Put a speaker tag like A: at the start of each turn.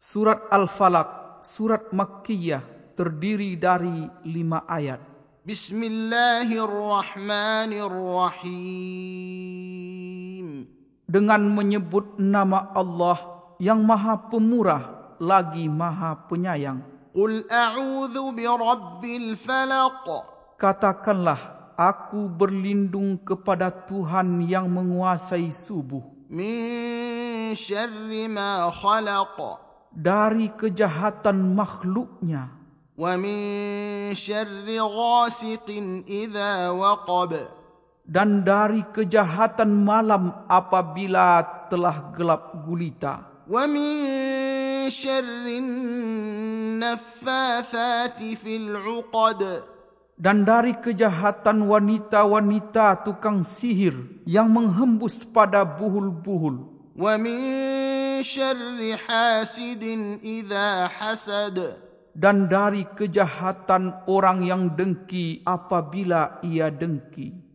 A: Surat Al-Falaq, surat Makkiyah terdiri dari lima ayat.
B: بسم الله الرحمن الرحيم
A: Dengan menyebut nama Allah yang maha pemurah lagi maha penyayang.
B: قل أعوذ برب الفلق
A: Katakanlah, aku berlindung kepada Tuhan yang menguasai subuh.
B: من شر ما خلق
A: Dari kejahatan makhluknya
B: ومن شر غاسق إذا وقب
A: dan dari kejahatan malam apabila telah gelap gulita
B: ومن شر النفاثات في العقد
A: dan dari kejahatan wanita-wanita tukang sihir yang menghembus pada buhul-buhul
B: ومن شر حاسد إذا حسد
A: dan dari kejahatan orang yang dengki apabila ia dengki